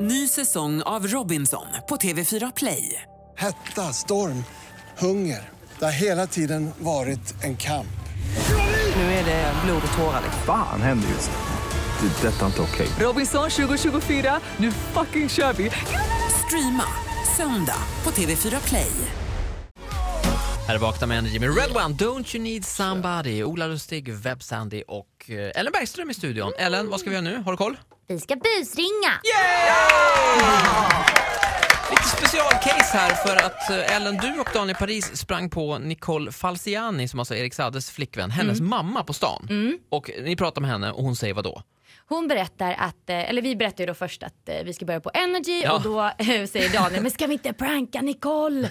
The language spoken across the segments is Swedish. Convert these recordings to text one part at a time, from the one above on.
Ny säsong av Robinson på TV4 Play. Hetta, storm, hunger. Det har hela tiden varit en kamp. Nu är det blod och tårar. liksom. Fan händer just nu. Det. är Detta är inte okej. Robinson 2024, nu fucking kör vi! Streama söndag på TV4 Play. Här är Vakna med Energy med Red One, Don't You Need Somebody, Ola Lustig, Webb Sandy och eh, Ellen Bergström i studion. Ellen, vad ska vi göra nu? Har du koll? Vi ska busringa. Lite specialcase här för att eh, Ellen, du och Daniel Paris sprang på Nicole Falciani som alltså är Erik Sades flickvän, hennes mamma på stan. Och ni pratar med henne och hon säger vad då? Hon berättar att, eh, eller vi berättar ju då först att eh, vi ska börja på Energy Ja. och då eh, säger Daniel, men ska vi inte pranka Nicole?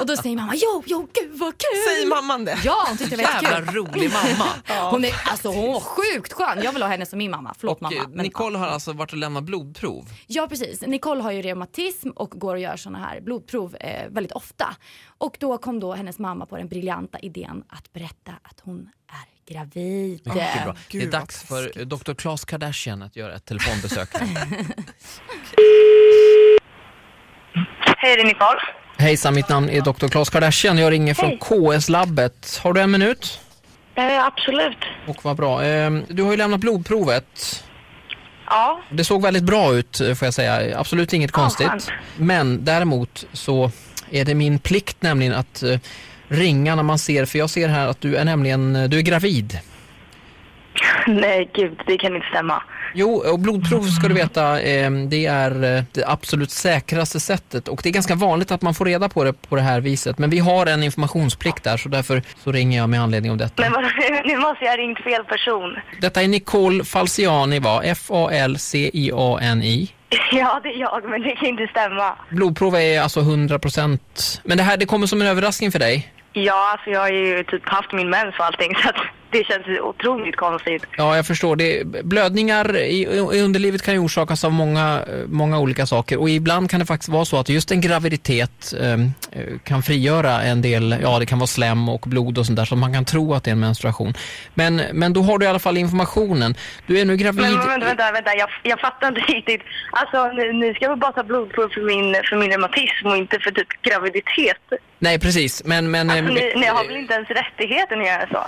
och då säger mamma, jo, jo, gud vad kul. Säger mamman det? Ja, hon tyckte det var Jävla jättekul. rolig mamma! Hon är, alltså hon var sjukt skön. Jag vill ha henne som min mamma. Förlåt Och mamma. eh, men- Nicole har alltså varit och lämnat blodprov. Ja precis. Nicole har ju reumatism och går och gör såna här blodprov eh, väldigt ofta. Och då kom då hennes mamma på den briljanta idén att berätta att hon är gravid. Mycket bra. det är dags för eh, Dr. Klas Kardashian att göra ett telefonbesök. Hej, det är Nicole. Hejsan, mitt namn är Dr. Klas Kardashian. Jag ringer från KS-labbet. Har du en minut? Eh, absolut. Och vad bra. Ehm, Du har ju lämnat blodprovet. Ja, Det såg väldigt bra ut eh, får jag säga. Absolut inget konstigt. skönt. Men däremot så är det min plikt nämligen att eh, ringa när man ser, för jag ser här att du är nämligen, eh, du är gravid. nej gud, det kan inte stämma. Jo, och blodprov ska du veta, eh, det är eh, det absolut säkraste sättet och det är ganska vanligt att man får reda på det på det här viset. Men vi har en informationsplikt där så därför så ringer jag med anledning av detta. Men vad, nu måste jag ha ringt fel person. Detta är Nicole Falciani va? F-A-L-C-I-A-N-I. Ja, det är jag, men det kan inte stämma. Blodprov är alltså 100%. Men det här det kommer som en överraskning för dig. Ja, alltså jag har ju typ haft min mens och allting, så att det känns ju otroligt konstigt. Ja, jag förstår. Det, blödningar i, i underlivet kan ju orsakas av många, eh, många olika saker och ibland kan det faktiskt vara så att just en graviditet eh, eh, kan frigöra en del, ja det kan vara slem och blod och sånt där som man kan tro att det är en menstruation. Men, men då har du i alla fall informationen. Du är nu gravid. Men vänta, vänta, vänta. Jag, jag fattar inte riktigt. Alltså, ni, ni ska väl bara ta blodprov för min, för min reumatism och inte för typ graviditet? Nej, precis. Men, men, Alltså, eh, ni, ni har väl inte ens rättigheten att göra så?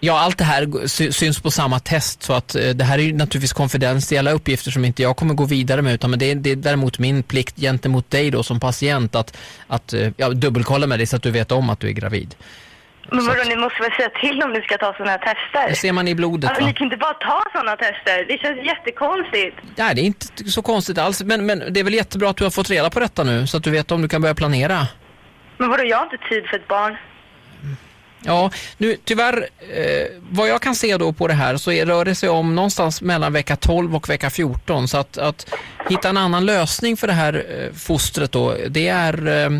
Ja, allt det här sy- syns på samma test så att eh, det här är ju naturligtvis konfidentiella uppgifter som inte jag kommer gå vidare med utan men det, är, det är däremot min plikt gentemot dig då som patient att, att eh, ja, dubbelkolla med dig så att du vet om att du är gravid. Men Så vadå, att- ni måste väl säga till om ni ska ta sådana här tester? Det ser man i blodet Alltså, va? ni kan inte bara ta sådana tester. Det känns jättekonstigt. Nej, det är inte så konstigt alls men, men det är väl jättebra att du har fått reda på detta nu så att du vet om du kan börja planera. Men vadå, jag har inte tid för ett barn. Ja, nu tyvärr, eh, vad jag kan se då på det här så är, rör det sig om någonstans mellan vecka 12 och vecka 14. Så att, att hitta en annan lösning för det här eh, fostret då, det är, eh,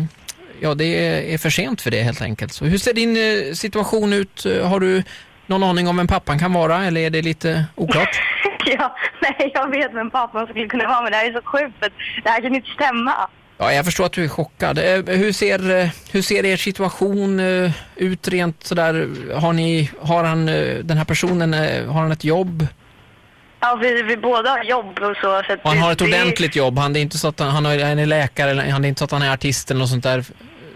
ja, det är- är för sent för det helt enkelt. Så hur ser din eh, situation ut? Eh, Har du någon aning om vem pappan kan vara eller är det lite oklart? ja, nej, jag vet vem pappan skulle kunna vara, men det här är så sjukt. För det här kan inte stämma. Ja, jag förstår att du är chockad. Eh, Hur ser, eh, hur ser er situation eh, ut rent sådär? Har, ni, har han, eh, den här personen, eh, har han ett jobb? Ja, vi, vi båda har jobb och så. så att Och han det- har ett det- ordentligt jobb. Han, det är inte så att han, han har- han är läkare, eller han det är inte så att han är artist eller något sånt där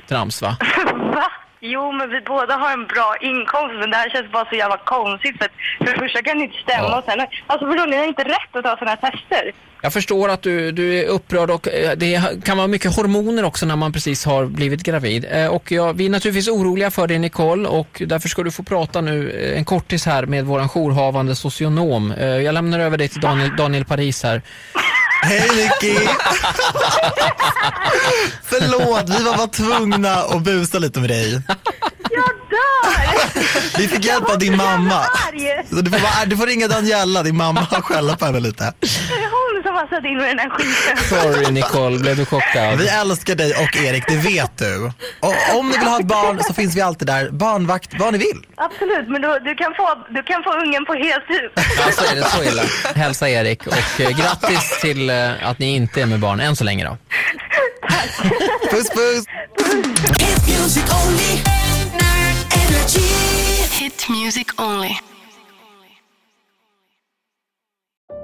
trams va? Va? Jo, men vi båda har en bra inkomst, men det här känns bara så jävla konstigt. För, att för det första kan det inte stämma. Ja. Och sen, alltså vadå, ni har inte rätt att ta sådana här tester. Jag förstår att du, du är upprörd och eh, det kan vara mycket hormoner också när man precis har blivit gravid. Eh, Och jag, vi är naturligtvis oroliga för dig Nicole och därför ska du få prata nu eh, en kortis här med våran jourhavande socionom. Eh, Jag lämnar över dig till Daniel, Daniel Paris här. Hej Nicky! Förlåt, vi var bara tvungna att busa lite med dig. Jag dör! Vi fick hjälp av din mamma. Arg! Så du, får bara, du får ringa Daniela, din mamma, och skälla på henne lite. Det är hon som har satt in mig i den här skiten. Sorry Nicole, blev du chockad? Vi älskar dig och Erik, det vet du. Och om ni vill ha ett barn så finns vi alltid där, barnvakt, vad ni vill. Absolut, men du, du, kan få, du kan få ungen på heltid. Ja, så Alltså, är det. Så illa. Hälsa Erik och eh, grattis till eh, att ni inte är med barn än så länge då. Puss puss! Hit music only. Energy. Hit music only.